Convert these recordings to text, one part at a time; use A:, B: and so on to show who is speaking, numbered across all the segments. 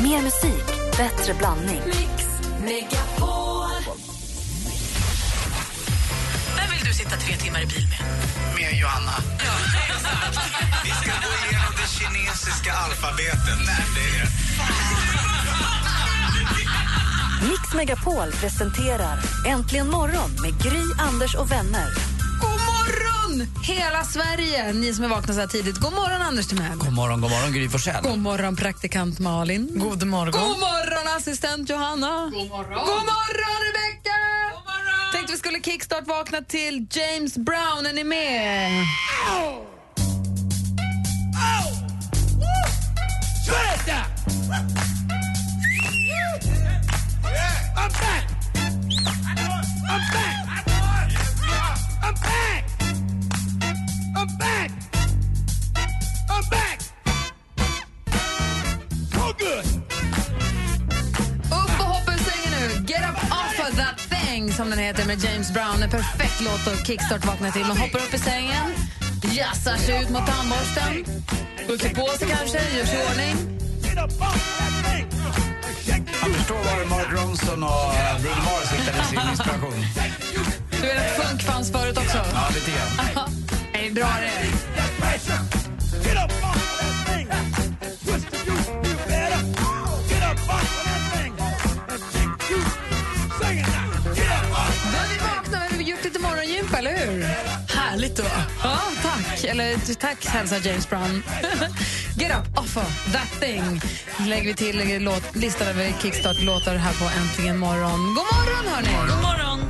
A: Mer musik, bättre blandning.
B: Mix Megapol. Vem vill du sitta tre timmar i bil med?
C: Med Johanna.
D: Vi ska gå igenom det kinesiska alfabetet. Nej, det är...
A: Mix Megapol presenterar Äntligen morgon med Gry, Anders och vänner.
E: God morgon, hela Sverige! Ni som är vakna så här tidigt. God morgon, Anders Timell.
C: God morgon, god morgon Gry Forssell.
E: God morgon, praktikant Malin.
F: God morgon.
E: God morgon, assistent Johanna. God morgon, God morgon Rebecca! God morgon. Tänkte vi skulle kickstart-vakna till James Brown. Är ni med? Upp och hoppa ur sängen nu! Get up off of that thing, som den heter med James Brown. En perfekt låt att kickstart-vakna till. Man hoppar upp i sängen, jassar sig ut mot tandborsten, skjuter på sig kanske, gör sig i ordning.
D: Jag förstår var Mark Ronson och eh, Bruno Mars hittade sin inspiration.
E: Du vet att funk fanns förut också?
D: Ja, lite grann.
E: Det är bra det. Då är vi vakna och har gjort lite morgongympa, eller hur?
F: Härligt då.
E: Ja, tack. Eller tack, hälsar James Brown. Get up off of that thing. lägger vi till lägger låt, listan över kickstart-låtar här på Äntligen morgon. God morgon, hörni!
F: God morgon.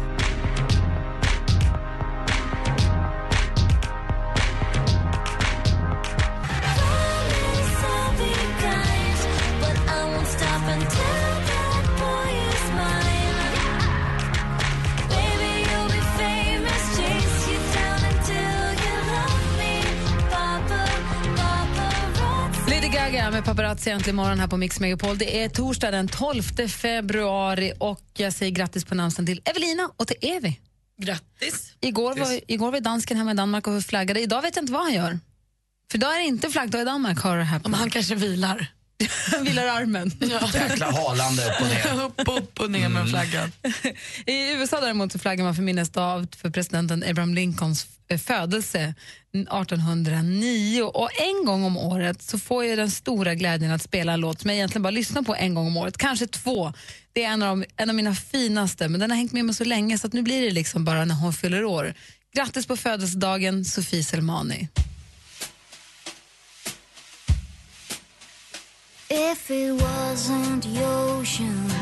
E: Lady Gaga med Paparazzi äntligen morgon här på Mix Megapol. Det är torsdag den 12 februari och jag säger grattis på namnsdagen till Evelina och till Evi.
F: Grattis.
E: Igår var, vi- igår var ju dansken hemma i Danmark och flaggade. Idag vet jag inte vad han gör. För idag är det inte flaggdag i Danmark, hör och häpna.
F: Men han kanske vilar.
E: Han vilar armen.
D: Jäkla halande upp och ner.
F: upp, upp och ner
D: Mm.
F: med flaggan.
E: I USA däremot så flaggar man för minnesdag för presidenten Abraham Lincolns eh, födelse 1809. Och en gång om året så får jag den stora glädjen att spela en låt som jag egentligen bara lyssnar på en gång om året, kanske två. Det är en av, de, en av mina finaste, men den har hängt med mig så länge så att nu blir det liksom bara när hon fyller år. Grattis på födelsedagen, Sofie Selmani.
G: If it wasn't the ocean,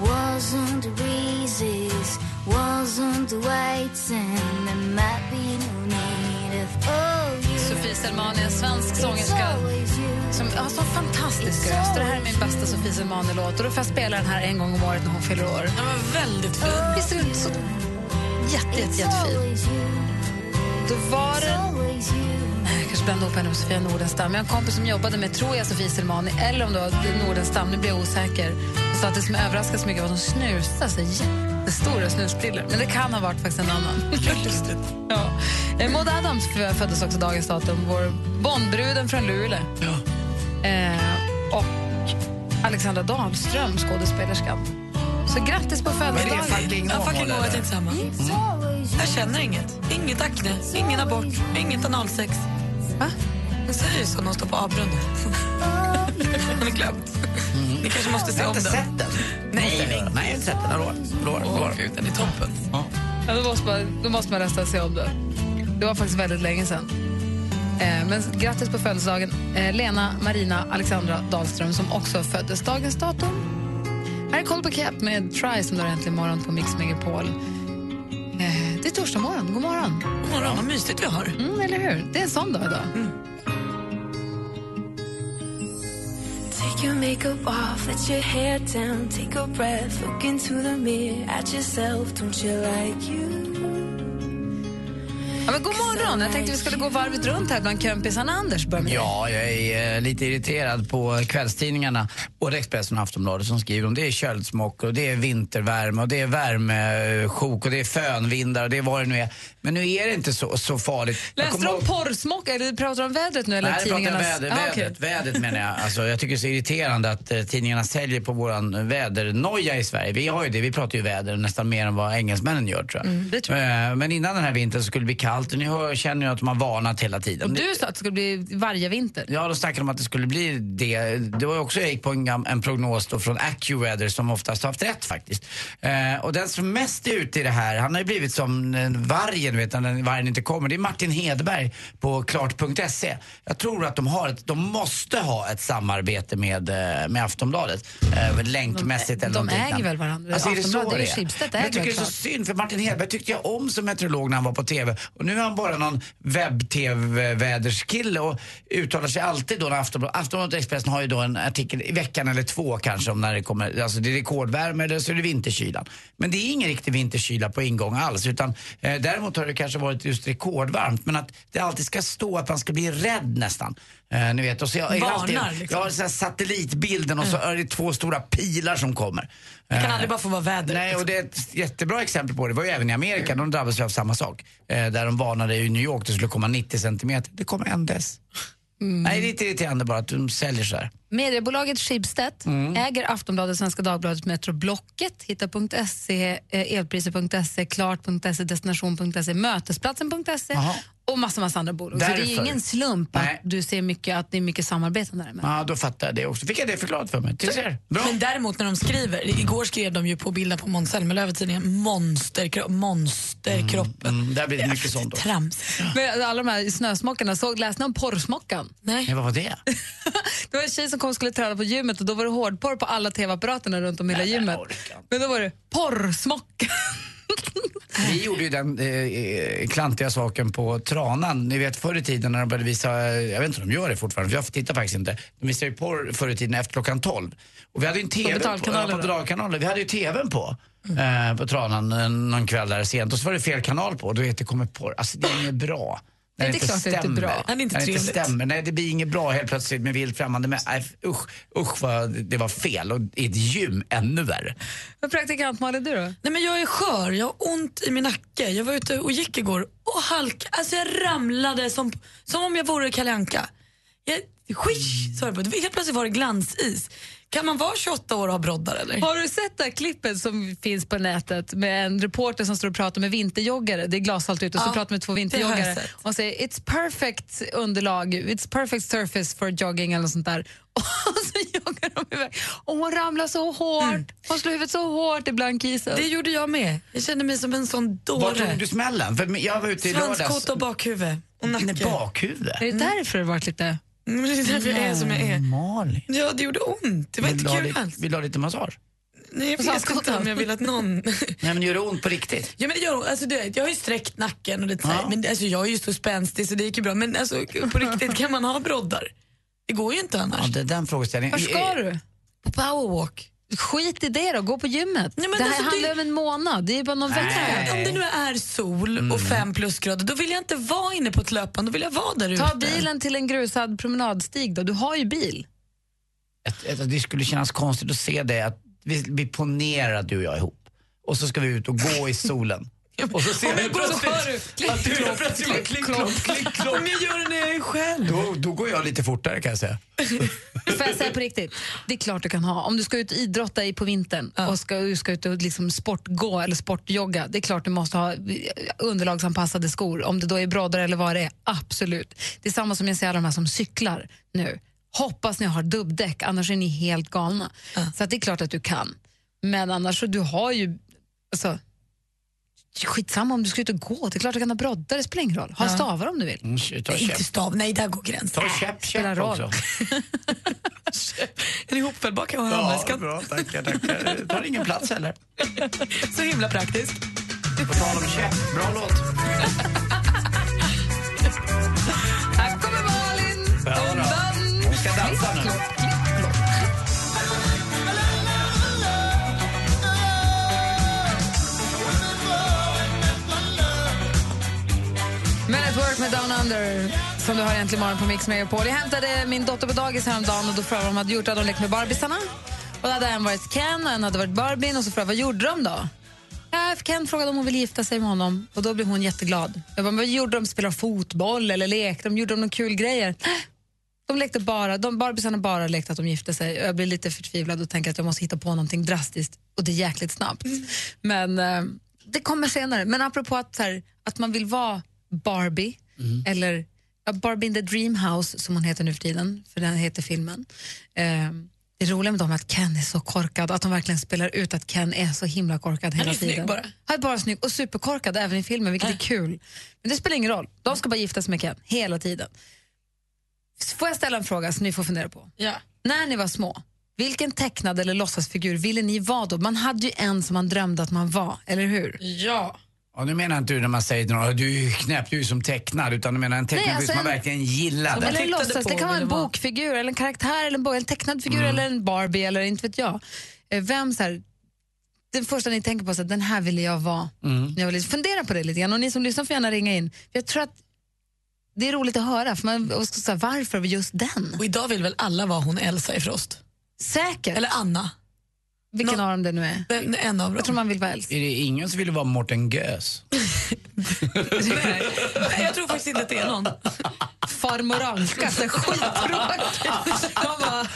G: wasn't the breezes, wasn't the white sand, there might be no need of all you.
E: Sofie Selmani, en svensk
G: It's
E: sångerska.
G: always you.
E: Som har så fantastisk röst. Det här är min bästa Sofie Selmani-låt. Och då får jag spela den här en gång om året när hon fyller år. Ah.
F: Han var väldigt fin.
E: Visst är den så jätte, jätte,
G: It's
E: jättefin?
G: always you.
E: Då var
G: It's
E: det...
G: always you.
E: Jag kanske blandade ihop henne med Sofia Nordenstam. Jag har en kompis som jobbade med, tror jag, Sofie Selmani eller om det var Nordenstam, nu blir jag osäker. Hon sa att det som överraskade så mycket var att hon snusade sig jättestora snusbrillor. Men det kan ha varit faktiskt en annan. ja. Eh, Maud Adams föddes också dagens datum. Vår Bondbruden från Luleå. Eh, och Alexandra Dahlström, skådespelerskan. Så grattis på
D: det är
E: födelsedagen.
D: fucking
F: Ja, fucking
D: normal,
F: går
D: eller?
F: till samma.
G: It's always you.
F: Jag känner inget. Inget akne, ingen abort, inget analsex.
E: Va?
F: Hon säger ju så när hon står på avbrunnen. Hon har glömt. Ni kanske måste se
D: Mm. Jag
F: om
D: har inte sett
F: den.
D: den.
F: Nej,
D: Nej, jag har inte sett den. Jag lovar. Lovar,
F: Åh,
D: lovar.
F: gud, den är toppen.
E: Ja, då, måste man, då måste man rösta sig om det. Det var faktiskt väldigt länge sedan. Eh, men grattis på födelsedagen, eh, Lena Marina Alexandra Dahlström som också föddes dagens datum. Här är Colby Cat med Try som drar äntligen morgon på Mix Megapol. Eh, det är torsdag morgon. God morgon.
F: God morgon, vad mysigt vi har.
E: Mm, eller hur? Det är en sån dag idag.
C: Mm.
H: Take your makeup off, let your hair down, take a breath, look into the mirror at yourself. Don't you like you?
E: Ja, men god morgon! Jag tänkte vi skulle gå varvet runt här bland kömpisarna. Anders, börja med dig.
C: Ja, jag är eh, lite irriterad på kvällstidningarna, både Expressen och Aftonbladet, som skriver om det är köldskock och det är vintervärme och det är värmesjok och det är fönvindar och det är vad det nu är. Men nu är det inte så, så farligt. Jag
E: Läste
C: kommer
E: du om
C: ihåg-
E: porrsmocka? Eller pratar du om vädret nu? Eller
C: Nej, jag pratar
E: tidningarnas...
C: om väder,
E: Ah, okej.
C: vädret, vädret menar jag. Alltså, jag tycker det är så irriterande att eh, tidningarna säljer på våran vädernoja i Sverige. Vi har ju det, vi pratar ju väder nästan mer än vad engelsmännen gör tror jag.
E: Mm,
C: Eh, Men innan den här vintern så skulle det bli kallt och ni hör, känner ju att de har varnat hela tiden.
E: Och du sa att det skulle bli varje vinter.
C: Ja, då snackade de om att det skulle bli det. Det var ju också, jag gick på en, gam- en prognos då från AccuWeather som oftast har haft rätt faktiskt. Eh, och den som mest är ute i det här, han har ju blivit som eh, vargen, du vet när vargen inte kommer. Det är Martin Hedberg på klart.se. E. Jag tror att de har ett, de måste ha ett samarbete med, eh, med Aftonbladet. Eh, länkmässigt
E: De-
C: eller
E: de
C: något
E: äger
C: liknande.
E: väl varandra?
C: Alltså, är det så
E: Aftonbladet är
C: det
E: ju
C: är?
E: Schibsted
C: Men
E: äger
C: Jag tycker det är så
E: klart.
C: synd, för Martin Hedberg tyckte jag om som meteorolog när han var på TV. Och nu är han bara någon webb-TV-väderskille och uttalar sig alltid då när Aftonbladet, Aftonbladet och Expressen har ju då en artikel i veckan eller två kanske om när det kommer, alltså det är rekordvärme eller så är det vinterkylan. Men det är ingen riktig vinterkyla på ingång alls utan eh, däremot har det kanske varit just rekordvarmt men att det alltid ska stå att man ska bli rädd nästan. Eh, ni vet, och så jag,
F: Varnar,
C: alltid,
F: liksom. Mm.
C: jag har så här satellitbilden och så är det två stora pilar som kommer.
F: Det kan
C: Eh,
F: aldrig bara få vara väder.
C: Nej, och det är ett jättebra exempel på det. Det var ju även i Amerika, de drabbades ju av samma sak. Eh, där de varnade i New York, det skulle komma 90 centimeter. Det kom en dess. Nej, det är lite irriterande bara att de säljer så här.
E: Mediebolaget Schibsted
C: Mm.
E: äger Aftonbladet, Svenska Dagbladet, Metro Blocket, Hitta.se, eh, Elpriser.se, Klart.se, Destination.se, Mötesplatsen.se
C: Jaha.
E: E och massa, massa andra bolag. Så det är
C: Därför.
E: ingen slump
C: Nej.
E: att du ser mycket, att det är mycket samarbeten däremellan.
C: Ja, då fattar jag det också. Fick jag det förklarat för mig? Tills er. Bra.
F: Men däremot när de skriver, igår skrev de ju på bilden på Måns Zelmerlöw i tidningen monsterkropp, monsterkroppen.
C: Mm, där blir det mycket sånt då.
F: Trams.
E: Men alla de här snösmockarna, såg, läste ni om porrsmockan?
F: Nej.
C: Nej, vad var det?
E: Det var en tjej som kom och skulle träna på gymmet och då var det hårdporr på alla tv-apparaterna runt om i hela gymmet. Men då var det porrsmocka.
C: Vi gjorde ju den eh, eh, klantiga saken på Tranan. Ni vet förr i tiden när de började visa, eh, jag vet inte om de gör det fortfarande, för jag tittar faktiskt inte. De visade ju porr förr i tiden efter klockan 12. Och vi hade ju en TV
E: betalkanaler
C: på, ja,
E: då?
C: på betalkanaler. Vi hade ju TVn på. Eh, på Tranan eh, någon kväll där sent och så var det fel kanal på och då vet det kommer porr. Alltså det är inget bra. När
E: Nej, det är klart att det inte är bra.
F: Det är inte
C: När det inte
F: trevligt.
C: stämmer. Nej, det blir inget bra helt plötsligt med vilt främmande män. Nej, Usch, usch vad det var fel. Och i ett gym ännu värre.
E: Vad praktikant Malin, du då?
F: Nej men jag är skör, jag har ont i min nacke. Jag var ute och gick igår och halk, alltså jag ramlade som, som om jag vore Kalle Anka. Jag, skish, sa det på. Det var- Helt plötsligt var det glansis. Kan man vara 28 år och ha broddar eller?
E: Har du sett det här klippet som finns på nätet med en reporter som står och pratar med vinterjoggare? Det är glashalt ute och så
F: Ja,
E: pratar med två
F: det har jag
E: vinterjoggare
F: sett.
E: och säger it's perfect underlag, it's perfect surface for jogging eller något sånt där. Och så joggar de iväg. Och hon ramlar så hårt, hon slår huvudet så hårt i blankisen.
F: Mm. Det gjorde jag med. Jag kände mig som en sån
C: Var tog
F: dåre.
C: du smällen? För jag var ute i lördags.
F: Svanskota och bakhuvud och
C: Nej,
F: nacke.
C: Bakhuvudet? Mm,
E: Är det därför det varit lite...
F: Mm, Det är därför jag är som jag är.
C: Malin.
F: Ja, det gjorde ont. Det var
C: Vill
F: inte
C: du ha
F: kul
C: lite-
F: alls.
C: Vill du ha lite massage?
F: Nej, jag vet
E: Svanskotan.
F: inte om jag vill att någon...
C: Nej men gör det ont på riktigt?
F: Ja, men det gör, ont. alltså, det, jag har ju sträckt nacken och det,
C: Ja.
F: men, alltså, jag är ju så spänstig så det gick ju bra. Men alltså, på riktigt, kan man ha broddar? Det går ju inte
C: Ja,
F: annars.
C: det är den frågeställningen.
E: Var ska du?
F: På powerwalk.
E: Skit i det då, gå på gymmet.
F: Nej, men
E: det här
F: alltså, det-
E: handlar ju om en månad, det är ju bara någon
C: Nej.
E: vecka.
F: Om det nu är sol och fem plusgrader, då vill jag inte vara inne på ett löpband. Då vill jag vara där ute.
E: Ta bilen till en grusad promenadstig då, du har ju bil.
C: Ett- ett- Det skulle kännas konstigt att se det, att vi, vi ponerar att du och jag är ihop. Och så ska vi ut och gå i solen. Och så ser
F: Om jag
C: jag
F: går så hör du.
C: plötsligt att du helt plötsligt bara klick, klock, klick, klock.
F: Om jag gör det när jag är själv.
C: Då, då går jag lite fortare kan jag säga.
E: Får jag säga på riktigt, det är klart du kan ha. Om du ska ut och idrotta i på vintern och ska, du ska ut och liksom sportgå eller sportjogga, det är klart du måste ha eh, underlagsanpassade skor. Om det då är broddar eller vad det är, absolut. Det är samma som jag ser alla de här som cyklar nu. Hoppas ni har dubbdäck, annars är ni helt galna. Så att det är klart att du kan. Men annars, så du har ju... Alltså, skitsamma om du ska ut och gå, det är klart du kan ha broddar, det spelar ingen roll. Ha stavar om du vill.
C: Mm, sh- ta käpp.
F: Inte stav, nej där går gränsen.
C: Ta käpp,
E: spelar
C: käpp
E: roll.
C: också.
F: En ihopfällbar kan vara
C: Ja,
F: handväskan.
C: bra, tackar, tackar. Det tar ingen plats heller.
F: Så himla praktisk.
C: På tal om käpp, bra låt.
E: Här kommer Malin!
C: Ja, då.
E: Undan.
C: Hon ska dansa nu.
E: Björk med Down Under som du har äntligen morgon på Mix Megapol. Jag hämtade min dotter på dagis häromdagen och då frågade jag vad de hade gjort. Hade de lekt med Barbisarna? Och då hade en varit Ken och en hade varit Barbin och så frågade jag vad gjorde de då? Äh, Ken frågade om hon ville gifta sig med honom och då blev hon jätteglad. Jag bara, men vad gjorde de? Spelade de fotboll eller lekte de? Gjorde de några kul grejer? "Nej, De lekte bara, de Barbisarna bara lekte att de gifte sig. Jag blir lite förtvivlad och tänker att jag måste hitta på någonting drastiskt och det är jäkligt snabbt.
F: Mm.
E: Men eh, det kommer senare. Men apropå att, så här, att man vill vara Barbie
F: Mm.
E: eller ja, Barbie in the Dreamhouse som hon heter nu för tiden, för den heter filmen. Eh, det roliga med dem är att Ken är så korkad, att de verkligen spelar ut att Ken är så himla korkad hela
F: är snygg
E: tiden.
F: bara. Äh.
E: Han är bara snygg och superkorkad även i filmen, vilket är kul. Men det spelar ingen roll, de ska bara gifta sig med Ken hela tiden. Får jag ställa en fråga som ni får fundera på?
F: Ja.
E: När ni var små, vilken tecknad eller låtsasfigur ville ni vara då? Man hade ju en som man drömde att man var, eller hur?
F: Ja.
C: Och nu menar inte du när man säger till någon "Åh, du är ju knäpp, du är ju som tecknad. Utan du menar en tecknad
E: alltså
C: som man
E: en-
C: verkligen gillade.
E: Eller en
F: tittade
E: låtsas,
F: på
E: det kan
F: och
E: vara en
F: ville vara.
E: bokfigur, eller en karaktär, eller en, bo- en tecknad figur,
F: Mm.
E: eller en Barbie, eller inte vet jag. Eh, Vem så här, den första ni tänker på, så här, den här ville jag vara.
F: Mm.
E: när Jag vill fundera på det lite grann, och ni som lyssnar får gärna ringa in. För Jag tror att det är roligt att höra, för man, och så, så här, varför just den?
F: Och idag vill väl alla vara hon Elsa i Frost?
E: Säkert,
F: Eller Anna.
E: vilken
F: nå-
E: av dem det nu är.
F: Den, en av dem.
E: Jag tror man vill vara äldst.
C: Är det ingen som ville vara Mårten Gös?
F: Nej, nej, jag tror faktiskt inte att det är någon.
E: Farmor Anka, så skittråkigt. Man bara,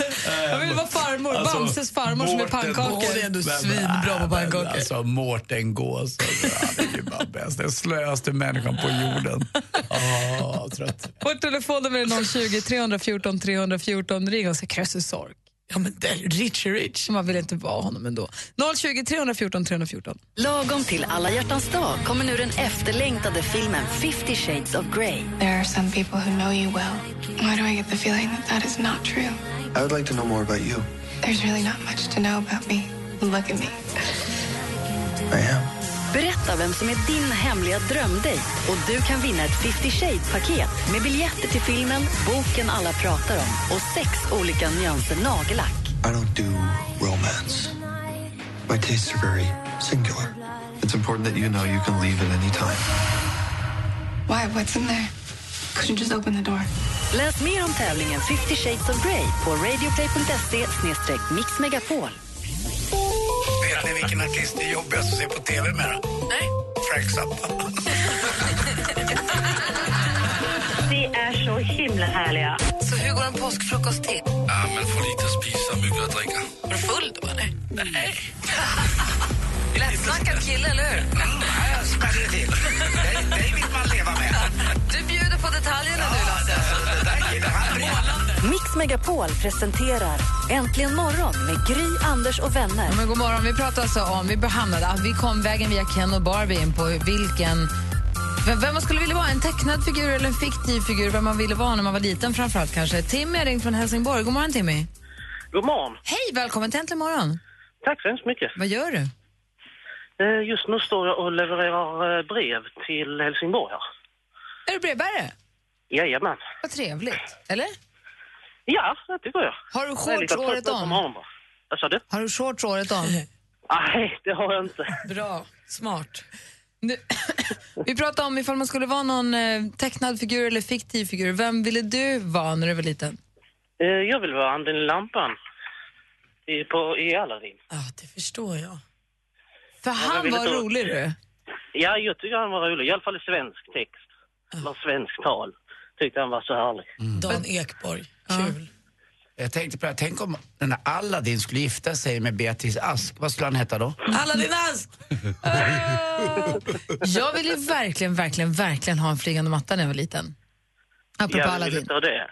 E: Jag vill vara farmor,
C: Alltså,
E: Bamses farmor som är
C: Mårten-
E: pannkakor.
F: Åh, det är ändå
C: Men-
F: svinbra på
C: men
F: pannkakor.
C: Alltså Mårten Gås, alltså, han är ju bara bäst. Den slöaste människan på jorden. Åh, trött.
E: Vår telefonnummer är 020 314 314. Ring oss, Krösus Sork.
F: Ja, men det är Richie Rich.
E: Man vill inte vara honom ändå. 020 314 314.
A: Lagom till alla hjärtans dag kommer nu den efterlängtade filmen 50 shades of Grey.
I: There are some people who know you well. Why do I get the feeling that that is not true?
J: I would like to know more about you.
I: There's really not much to know about me. Look at me.
J: I am.
A: Berätta vem som är din hemliga drömdejt och du kan vinna ett 50 Shades-paket med biljetter till filmen, boken alla pratar om och sex olika nyanser nagellack.
J: I don't do romance. My tastes are very singular. It's important that you know you can leave at any time.
I: Why? What's in there? Couldn't you just open the door?
A: Läs mer om tävlingen 50 Shades of Grey på radioplay.se mixmegapol.
D: Vet ni vilken artist det är jobbigast att se på tv med? då?
B: Nej.
D: Frank Zappa.
A: Ni är så himla härliga.
E: Så hur går en påskfrukost till?
D: Ja, man får lite att spisa och mycket att dricka.
B: Var du full då eller? Nej.
E: Lättsnackad kille, eller hur?
D: Här smäller det till. Dig, dig vill man leva med.
E: Du bjuder på detaljerna du, Lasse.
D: Den där killen, han är
A: Mix Megapol presenterar Äntligen morgon med Gry, Anders och vänner.
E: Ja, Men god morgon. Vi pratar alltså om, vi behandlade att vi kom vägen via Ken och Barbie in på vilken vem, vem man skulle vilja vara, en tecknad figur eller en fiktiv figur, vem man ville vara när man var liten framförallt kanske. Timmy har ringt från Helsingborg. God morgon Timmy.
K: God morgon.
E: Hej, välkommen till Äntligen morgon.
K: Tack så hemskt mycket.
E: Vad gör du?
K: Eh, Just nu står jag och levererar eh, brev till Helsingborg här.
E: Är du brevbärare?
K: Jajamän.
E: Vad trevligt. Eller?
K: Ja, det tycker jag.
E: Har du
K: Det är lite
E: shorts året
K: trött på
E: om?
K: morgonen bara. Vad sa du?
E: Har du shorts året om?
K: Nej, det har jag inte.
F: Bra. Smart.
E: Nu, vi pratade om ifall man skulle vara någon eh, tecknad figur eller fiktiv figur. Vem ville du vara när du var liten?
K: Eh, Jag vill vara anden i lampan i, på, i Aladdin.
F: Ja, det förstår jag.
E: För han
K: ville
E: var
K: då-
E: rolig du.
K: Ja, jag tycker han var rolig. I alla fall i svensk text. Eller svensk tal. Tyckte han var så härlig.
F: Dan Ekborg. Kul.
C: Jag tänkte på det här, tänk om den där Aladdin skulle gifta sig med Beatrice Ask. Vad skulle han heta då?
F: Alla din ask!
E: Jag ville ju verkligen, verkligen, verkligen ha en flygande matta när jag var liten. Apropå
K: Jag vill
E: Aladdin.
K: inte ha det.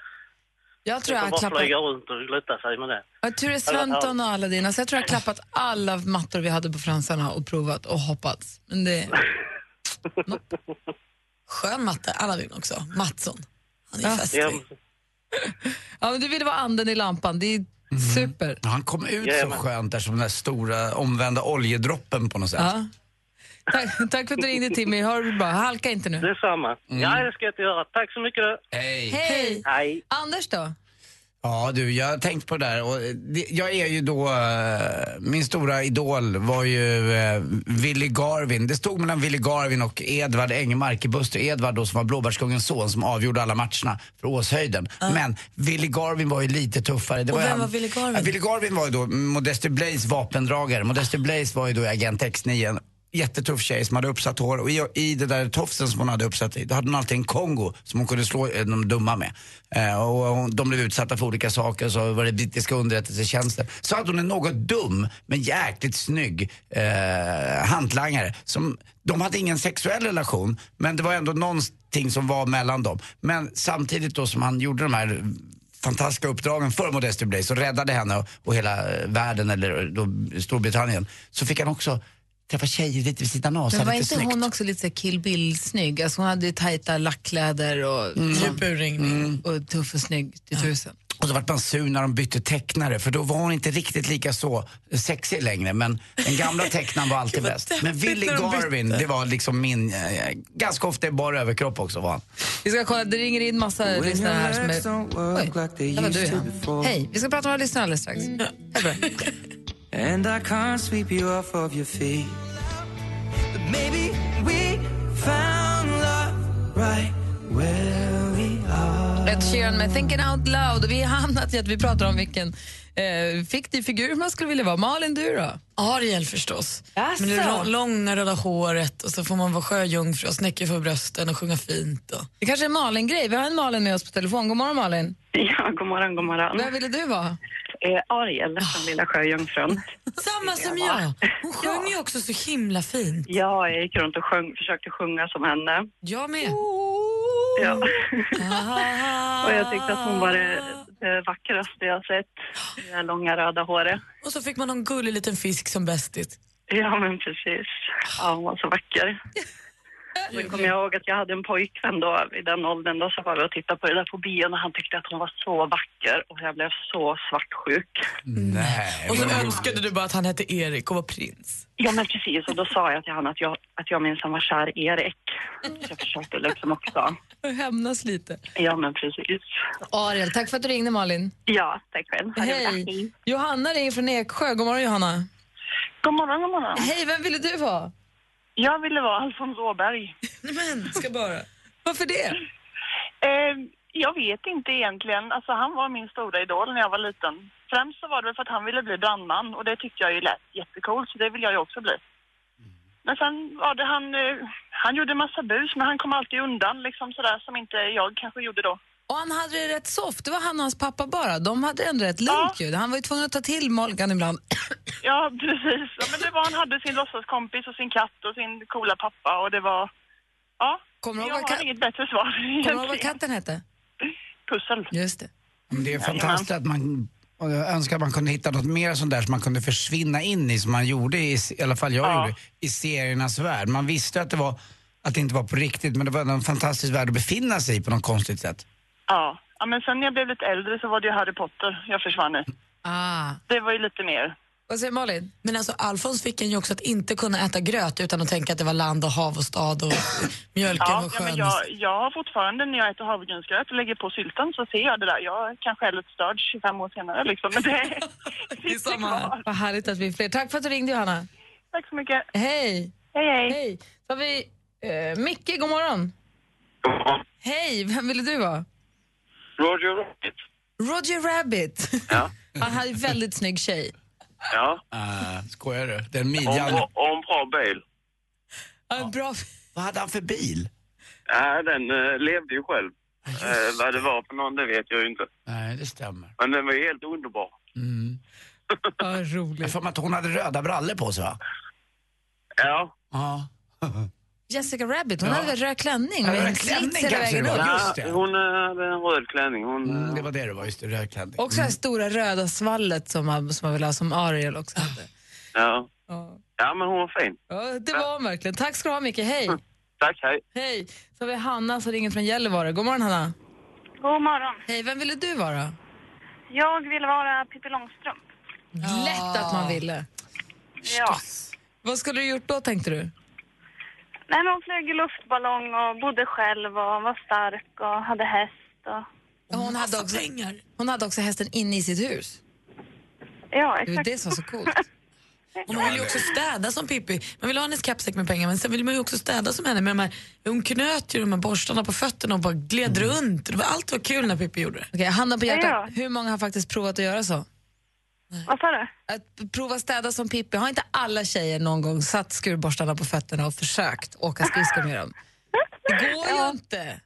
E: Jag tror jag
K: Jag
E: har
K: bara
E: klappat...
K: flyga runt och glutta sig med det.
E: Ja, Ture Sventon och Aladdin. Alltså jag tror jag har klappat alla mattor vi hade på fransarna och provat och hoppats. Men det...
F: Skön matte. Aladdin också. Mattsson. Han är
E: Ja.
K: Ja,
F: festlig.
E: Ja, men du ville vara anden i lampan. Det är super.
C: Han kom ut så
K: Jajamän.
C: skönt där som den där stora omvända oljedroppen på något sätt.
E: Ja. Tack, tack för att du ringde Timmy. Har du bra. Halka inte nu.
F: Mm.
K: detsamma. Ja, det ska jag inte göra. Tack så mycket.
C: Hej!
E: Hej!
K: Hej.
E: Anders då?
C: Ja du, jag har tänkt på det där och eh, det, jag är ju då, eh, min stora idol var ju eh, Willy Garvin. Det stod mellan Willy Garvin och Edvard Engmark i Buster. Edvard då som var Blåbärskungens son som avgjorde alla matcherna för Åshöjden. Men Willy Garvin var ju lite tuffare. Det
F: Och
C: ju
F: vem
C: han-
F: var Willy Garvin?
C: Ja, Willy Garvin var ju då Modesty Blaise vapendragare. Modesty Blaise var ju då i Agent X9. En jättetuff tjej som hade uppsatt hår och i, i det där tofsen som hon hade uppsatt i, då hade hon alltid en Kongo som hon kunde slå eh, de dumma med. Eh, och hon, de blev utsatta för olika saker, så var det brittiska underrättelsetjänsten. Så hade hon en något dum, men jäkligt snygg eh, hantlangare. Som, de hade ingen sexuell relation, men det var ändå någonting som var mellan dem. Men samtidigt då som han gjorde de här fantastiska uppdragen för Modesty Blaise och räddade henne och, och hela eh, världen, eller då Storbritannien, så fick han också träffa tjejer lite vid sidan av. så
E: Men var
C: lite
E: inte
C: snyggt.
E: hon också lite så här Kill Bill-snygg? Alltså hon hade ju tajta lackkläder och
C: Mm.
E: djup urringning och tuff och snygg till tusen.
C: Och så vart man sur när de bytte tecknare för då var hon inte riktigt lika så sexig längre men den gamla tecknaren var alltid bäst. Men Willy
E: när de
C: Garvin, det var liksom min, eh, ganska ofta i bara överkropp också var han.
E: Vi ska kolla, det ringer in massa lyssnare här som är... Oj, där var du ja. Hej, vi ska prata med våra lyssnare alldeles strax. Hej på dig.
L: And I can't sweep you off of your feet. But maybe we found love right where we are.
E: Ed Sheeran med Thinking Out Loud. Och vi har hamnat i att vi pratar om vilken eh, fiktiv figur man skulle vilja vara. Malin, du då?
F: Ariel förstås. Men det lång- långa röda håret och så får man vara sjöjungfru och snäcka för brösten och sjunga fint. Och.
E: Det kanske är en Malin-grej. Vi har en Malin med oss på telefon. God morgon, Malin.
M: Ja, god morgon, god morgon.
E: Vem ville du vara?
M: Eh, Ariel,
F: Ah.
M: den lilla sjöjungfrun.
F: Samma som jag. Hon sjöng ju också så himla fint.
M: Ja, jag gick runt och sjöng, försökte sjunga som henne.
F: Jag med.
M: Ja. och jag tyckte att hon var det,
F: Ah.
M: det vackraste jag sett. Det där långa röda håret.
F: Och så fick man någon gullig liten fisk som bästis.
M: Ja, men precis. Ja, hon var så vacker. Sen kommer jag ihåg att jag hade en pojkvän då, i den åldern då, så var vi och tittade på det där på bion och han tyckte att hon var så vacker och jag blev så svartsjuk.
C: Nej,
F: Och så önskade du bara att han hette Erik och var prins.
M: Ja, men precis. Och då sa jag till honom att jag, att jag minsann var kär i Erik. Så jag försökte liksom också.
E: För att hämnas lite.
M: Ja, men precis.
E: Ariel, tack för att du ringde, Malin.
M: Ja, tack själv. Ha det bra.
E: Hej. Johanna ringer från Eksjö. God morgon, Johanna.
M: God morgon, god morgon.
E: Hej, vem ville du vara?
M: Jag ville vara Alfons Åberg.
E: Men, ska bara. Varför det?
N: Eh, jag vet inte egentligen. Alltså, han var min stora idol när jag var liten. Främst så var det väl för att han ville bli brandman och det tyckte jag ju lät jättecoolt så det vill jag ju också bli. Men sen var det han, eh, han gjorde massa bus men han kom alltid undan liksom sådär som inte jag kanske gjorde då.
E: Och han hade det rätt soft. Det var han och hans pappa bara. De hade ändå rätt lugnt ju. Han var ju tvungen att ta till Molgan ibland.
N: Ja, precis. Ja, men det var, han hade sin låtsaskompis och sin katt och sin coola pappa och det var... Ja,
E: Kommer du
N: jag
E: ihåg vad
N: har
E: kat-
N: inget bättre svar
E: Kommer du ihåg vad
N: egentligen.
E: katten hette?
N: Pussel.
E: Just det.
C: Men Det är
N: Jajamän.
C: fantastiskt att man och jag önskar att man kunde hitta något mer sånt där som man kunde försvinna in i som man gjorde i, i alla fall jag gjorde, i seriernas värld. Man visste att det var, att det inte var på riktigt men det var en fantastisk värld att befinna sig i på något konstigt sätt.
N: Ja. ja, men sen när jag blev lite äldre så var det ju Harry Potter jag försvann i.
E: Ah.
N: Det var ju lite mer.
E: Vad säger Malin?
F: Men alltså Alfons fick en ju också att inte kunna äta gröt utan att tänka att det var land och hav och stad och mjölken
N: Ja, ja,
F: var
N: men
F: skön.
N: jag, jag har fortfarande när jag äter havregrynsgröt och lägger på sylten så ser jag det där. Jag kanske är lite störd 25 år senare liksom. Men det, det är samma
E: Vad härligt att vi är fler. Tack för att du ringde, Johanna.
N: Tack så mycket.
E: Hej.
N: Hej, hej.
E: hej. Så har vi eh, Micke, god morgon. Hej, vem ville du vara?
O: Roger Rabbit.
E: Roger Rabbit.
O: Ja.
E: Han hade en väldigt snygg tjej.
O: ja.
C: Uh, skojar du? Den
O: Och en
C: midjan.
O: bra, och en bra bil.
E: Ja. Bra.
C: Vad hade han för bil?
O: Ja, den eh, levde ju själv. Eh, vad det var för någon, det vet jag ju inte.
C: Nej, det stämmer.
O: Men den var ju helt underbar.
C: Mm.
E: Vad roligt.
C: Jag får mig att hon hade röda brallor på sig va?
O: Ja.
C: Ja.
E: Jessica Rabbit, hon
O: Ja.
E: hade väl röd klänning?
C: Ja,
E: med
C: röd
E: en slits
C: klänning
E: hela
C: kanske
E: vägen
C: det var.
E: upp.
C: Ja, just det. Mm.
O: Hon eh, hade en röd klänning. Hon, eh,
C: Det var det det var, just det, röd klänning.
E: Också det här stora röda svallet som man, som man vill ha som Ariel också hade.
O: Ja.
E: Ja.
O: ja, men hon var fin.
E: Ja, det var hon verkligen. Tack ska du ha Micke, hej.
F: Mm.
O: Tack, hej.
E: Hej. Så har vi Hanna som ringer från Gällivare. God morgon Hanna.
P: God morgon.
E: Hej, vem ville du vara?
P: Jag vill vara Pippi Långstrump.
E: Lätt att man ville.
P: Ja.
E: Vad skulle du gjort då tänkte du?
P: Nej, men hon flög i luftballong och bodde själv och var stark och hade häst. Och...
E: Hon hade, också, hon hade också hästen inne i sitt hus.
F: Ja,
E: exakt. Det är det som är så coolt.
F: Och man vill ju också städa som Pippi. Man vill ha hennes kappsäck med pengar men sen vill man ju också städa som henne. Med de här, hon knöt ju de här borstarna på fötterna och bara gled
N: Mm.
F: runt. Det var, allt var kul när Pippi gjorde det.
E: Okej, handen på hjärtat,
F: Ja,
E: hur många har faktiskt provat att göra så? Vad sa du? Att prova städa som Pippi. Har inte alla tjejer någon gång satt skurborstarna på fötterna och försökt åka skridskor med dem? Det går ju inte.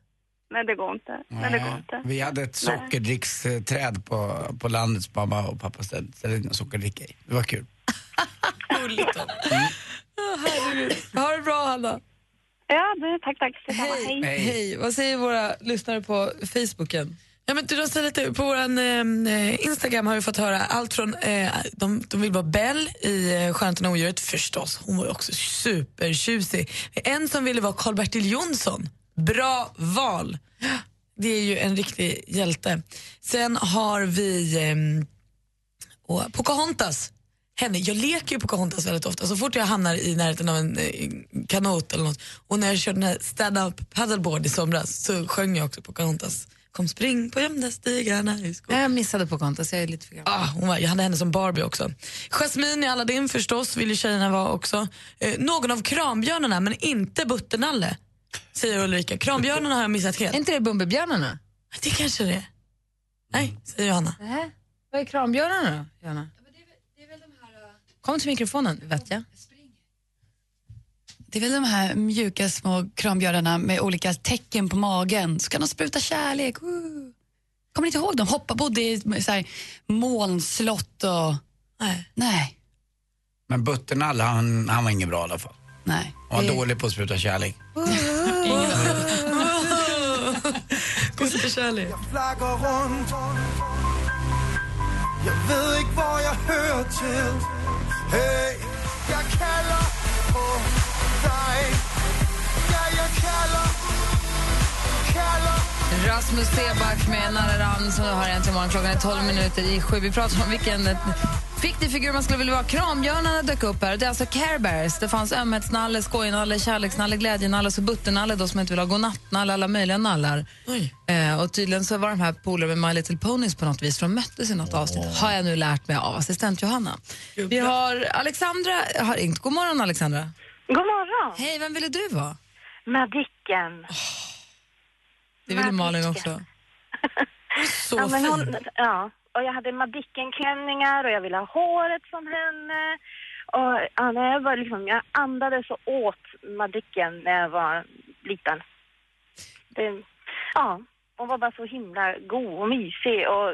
P: Nej, det går inte. Nej, det går inte.
C: Vi hade ett sockerdricksträd på, på landets mamma och pappa ställde ställde sockerdricka i. Det var kul.
E: Oh, herregud. ha det bra, Hanna.
P: Ja, tack, tack.
E: Hej. Hej. Hej. Vad säger våra lyssnare på Facebooken?
F: Ja, men du, de säger lite, på vår eh, Instagram har vi fått höra allt från, eh, de, de vill vara Bell i eh, Skönheten och odjuret förstås, hon var ju också supertjusig. En som ville vara Karl-Bertil Jonsson, bra val. Det är ju en riktig hjälte. Sen har vi ehm, och Pocahontas. Henne, jag leker ju Pocahontas väldigt ofta. Så fort jag hamnar i närheten av en eh, kanot eller något och när jag körde den här stand-up paddleboard i somras så sjöng jag också Pocahontas. Kom spring på gömda stigarna i skogen.
E: Jag missade Pocahontas, jag är lite för gammal.
F: Ah, hon var, jag hade henne som Barbie också. Jasmine i Aladdin förstås, vill ju tjejerna vara också. Eh, någon av krambjörnarna, men inte Butternalle, säger Ulrika. Krambjörnarna har jag missat helt.
E: Är inte det Bumbibjörnarna?
F: Det kanske det är. Nej, säger Johanna.
E: Nej. Vad är krambjörnarna då, Johanna? Kom till mikrofonen, vet jag.
Q: Det är väl de här mjuka små krambjörnarna med olika tecken på magen. Så kan de spruta kärlek. Woo. Kommer ni inte ihåg dem? Hoppa bodde i ett så här molnslott och...
F: Nej.
Q: Nej.
C: Men Butternalle, han, han var ingen bra i alla fall.
Q: Nej.
C: Han var
Q: Det-
C: dålig på att spruta kärlek.
F: Gud för kärlek.
L: Jeg flakker rundt. Jeg ved ikke, hvor jeg hører til. Hey, jeg kalder på dig. Ja, jeg kalder, kalder.
E: Rasmus Seback med Nararam som du har äntligen morgon. Klockan är 12 minuter i sju. Vi pratar om vilken fiktiv figur man skulle vilja vara. Krambjörnarna dök upp här. Det är alltså Care Bears. Det fanns ömhetsnalle, skojnalle, kärleksnalle, glädjenalle, så butternalle då som inte vill ha godnattnalle, alla möjliga nallar. Eh, och tydligen så var de här polare med My Little Ponies på något vis, för de möttes i något avsnitt, har jag nu lärt mig av assistent Johanna. Vi har Alexandra har ringt. God morgon Alexandra.
P: God morgon.
E: Hej, vem ville du vara?
P: Madicken.
E: Det ville Malin också. Så
P: ja, men hon,
E: fin.
P: ja, och jag hade Madicken-klänningar och jag ville ha håret från henne. Och, ja, nej, jag, var liksom, jag andades och åt Madicken när jag var liten. Det, ja, hon var bara så himla god och mysig och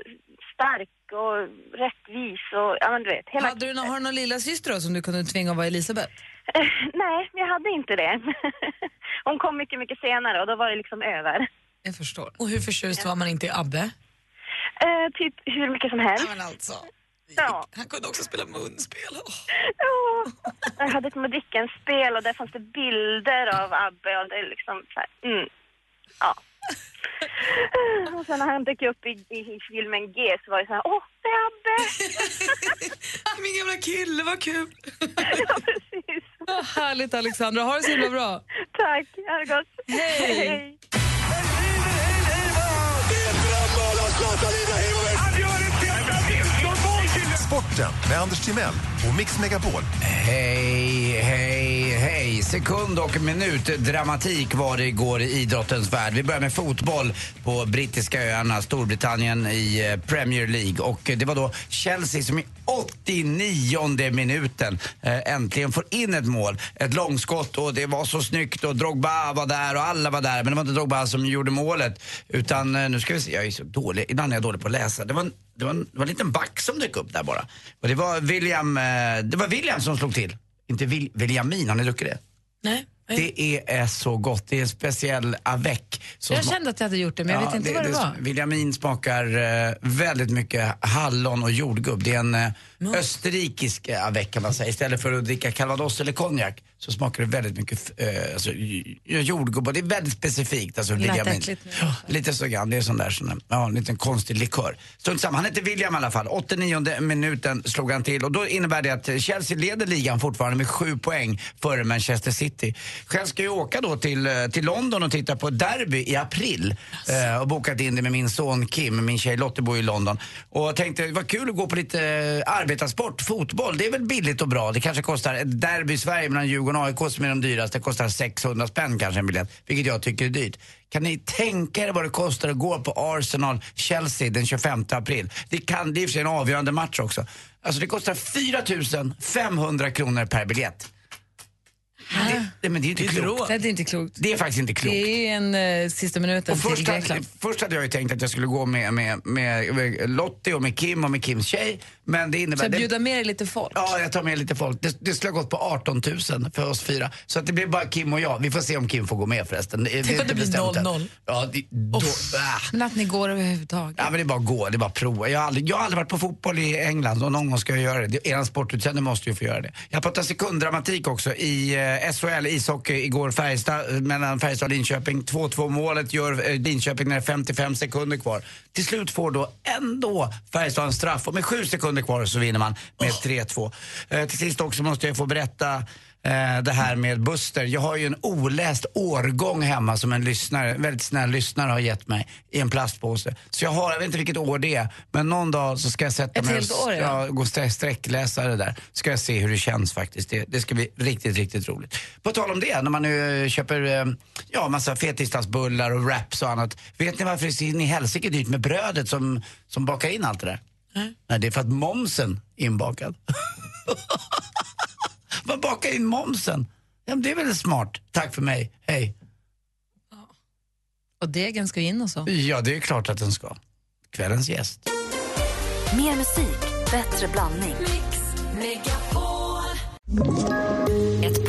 P: stark och rättvis och ja, men du vet. Hela
E: Hade du någon, har du någon lilla syster då, som du kunde tvinga att vara Elisabeth?
P: Nej, jag hade inte det. Hon kom mycket, mycket senare och då var det liksom över.
E: Jag förstår.
F: Och hur förtjust var man inte i Abbe?
P: Eh, typ hur mycket som helst.
F: Ja, men alltså.
P: Ja.
F: Han kunde också spela munspel. Åh.
P: Ja. Jag hade ett Madicken-spel och där fanns det bilder av Abbe och det är liksom så här, mm. Ja. Och sen när han dök upp i, i, i filmen G så var det så här, åh, det är Abbe!
F: Min gamla kille, vad kul!
E: Vad härligt Alexandra, ha det så himla bra.
P: Tack, ha det gott.
E: Hej.
R: Sporten med Anders Timell och Mix Megapol.
C: Hej, hej, hej. Sekund och minut dramatik var det igår i idrottens värld. Vi börjar med fotboll på brittiska öarna, Storbritannien i eh, Premier League. Och eh, det var då Chelsea som i 89 minuten eh, äntligen får in ett mål. Ett långskott och det var så snyggt och Drogba var där och alla var där. Men det var inte Drogba som gjorde målet. Utan eh, nu ska vi se, jag är så dålig, ibland är jag dålig på att läsa. Det var en, det var en, det var en liten back som dök upp där bara. Och det var William, eh, det var William som slog till. Inte Vil, Williamin, har ni druckit det?
F: Nej.
C: Det är eh, så gott, det är en speciell avec. som
E: Jag
C: sma-
E: kände att jag hade gjort det, men jag
C: Ja,
E: vet inte vad det, var.
C: Williamin smakar eh, väldigt mycket hallon och jordgubb. Det är en eh, österrikiska väck kan man säga. Istället för att dricka calvados eller konjak så smakar det väldigt mycket eh, alltså, j- jordgubbar. Det är väldigt specifikt. Alltså,
E: Lät
C: ligamin.
E: äckligt nu.
C: Ja, Lite så grann. Det är sån där sån, ja, en liten konstig likör. Strunt samma. Han heter William i alla fall. 89 minuten slog han till och då innebär det att Chelsea leder ligan fortfarande med sju poäng före Manchester City. Själv ska jag åka då till, eh, till London och titta på ett derby i april. Eh, och bokat in det med min son Kim. Min tjej Lotte bor i London. Och tänkte, vad kul att gå på lite eh, arbetarsport, fotboll. Det är väl billigt och bra. Det kanske kostar, ett derby i Sverige mellan Djurgården och AIK som är de dyraste, kostar 600 spänn kanske en biljett. Vilket jag tycker är dyrt. Kan ni tänka er vad det kostar att gå på Arsenal-Chelsea den 25 april? Det kan, det är i och för sig en avgörande match också. Alltså det kostar 4 500 kronor per biljett. Det, det, men det är inte klokt.
E: Nej, det är inte klokt.
C: Det är faktiskt inte klokt.
E: Det är en eh, sista minuten
C: Och
E: till
C: först, hade,
E: Grekland.
C: först hade jag ju tänkt att jag skulle gå med, med, med, med Lottie och med Kim och med Kims tjej. Men det innebär...
E: Så jag
C: det-
E: bjuda med dig lite folk.
C: Ja, jag tar med lite folk. Det, det skulle ha gått på 18 000 för oss fyra. Så att det blir bara Kim och jag. Vi får se om Kim får gå med förresten. Det-
E: Tänk
C: är
E: om det
C: inte
E: blir
C: bestämt än.
E: 0-0.
C: Ja, det, då, ah.
E: Men att ni går överhuvudtaget.
C: Ja, men det är bara att gå, det är bara att prova. Jag har, aldrig, jag har aldrig varit på fotboll i England och någon gång ska jag göra det. det. Er sportutsände måste ju få göra det. Jag pratar sekunddramatik också i eh, SHL ishockey igår Färjestad, eh, mellan Färjestad och Linköping. 2-2 målet gör eh, Linköping när det är 55 sekunder kvar. Till slut får då ändå Färjestad en straff och med 7 sekunder kvar så vinner man med 3-2. Eh, till sist också måste jag få berätta eh, det här med Buster. Jag har ju en oläst årgång hemma som en lyssnare, en väldigt snäll lyssnare har gett mig i en plastpåse. Så jag har, jag vet inte vilket år det är, men någon dag så ska jag sätta
E: Ett
C: mig
E: helt år, ja.
C: ja, gå och strä- sträckläsa det där. Ska jag se hur det känns faktiskt. Det, det ska bli riktigt, riktigt roligt. På tal om det, när man nu eh, köper eh, ja, massa fettisdagsbullar och wraps och annat. Vet ni varför det är så in i helsike dyrt med brödet som, som bakar in allt det där? Nej, det är för att momsen är inbakad. Man bakar in momsen. Ja, men det är väl smart. Tack för mig. Hej.
E: Och degen ska ju in och så.
C: Ja, det är klart att den ska. Kvällens gäst.
A: Mer musik, bättre blandning. Ett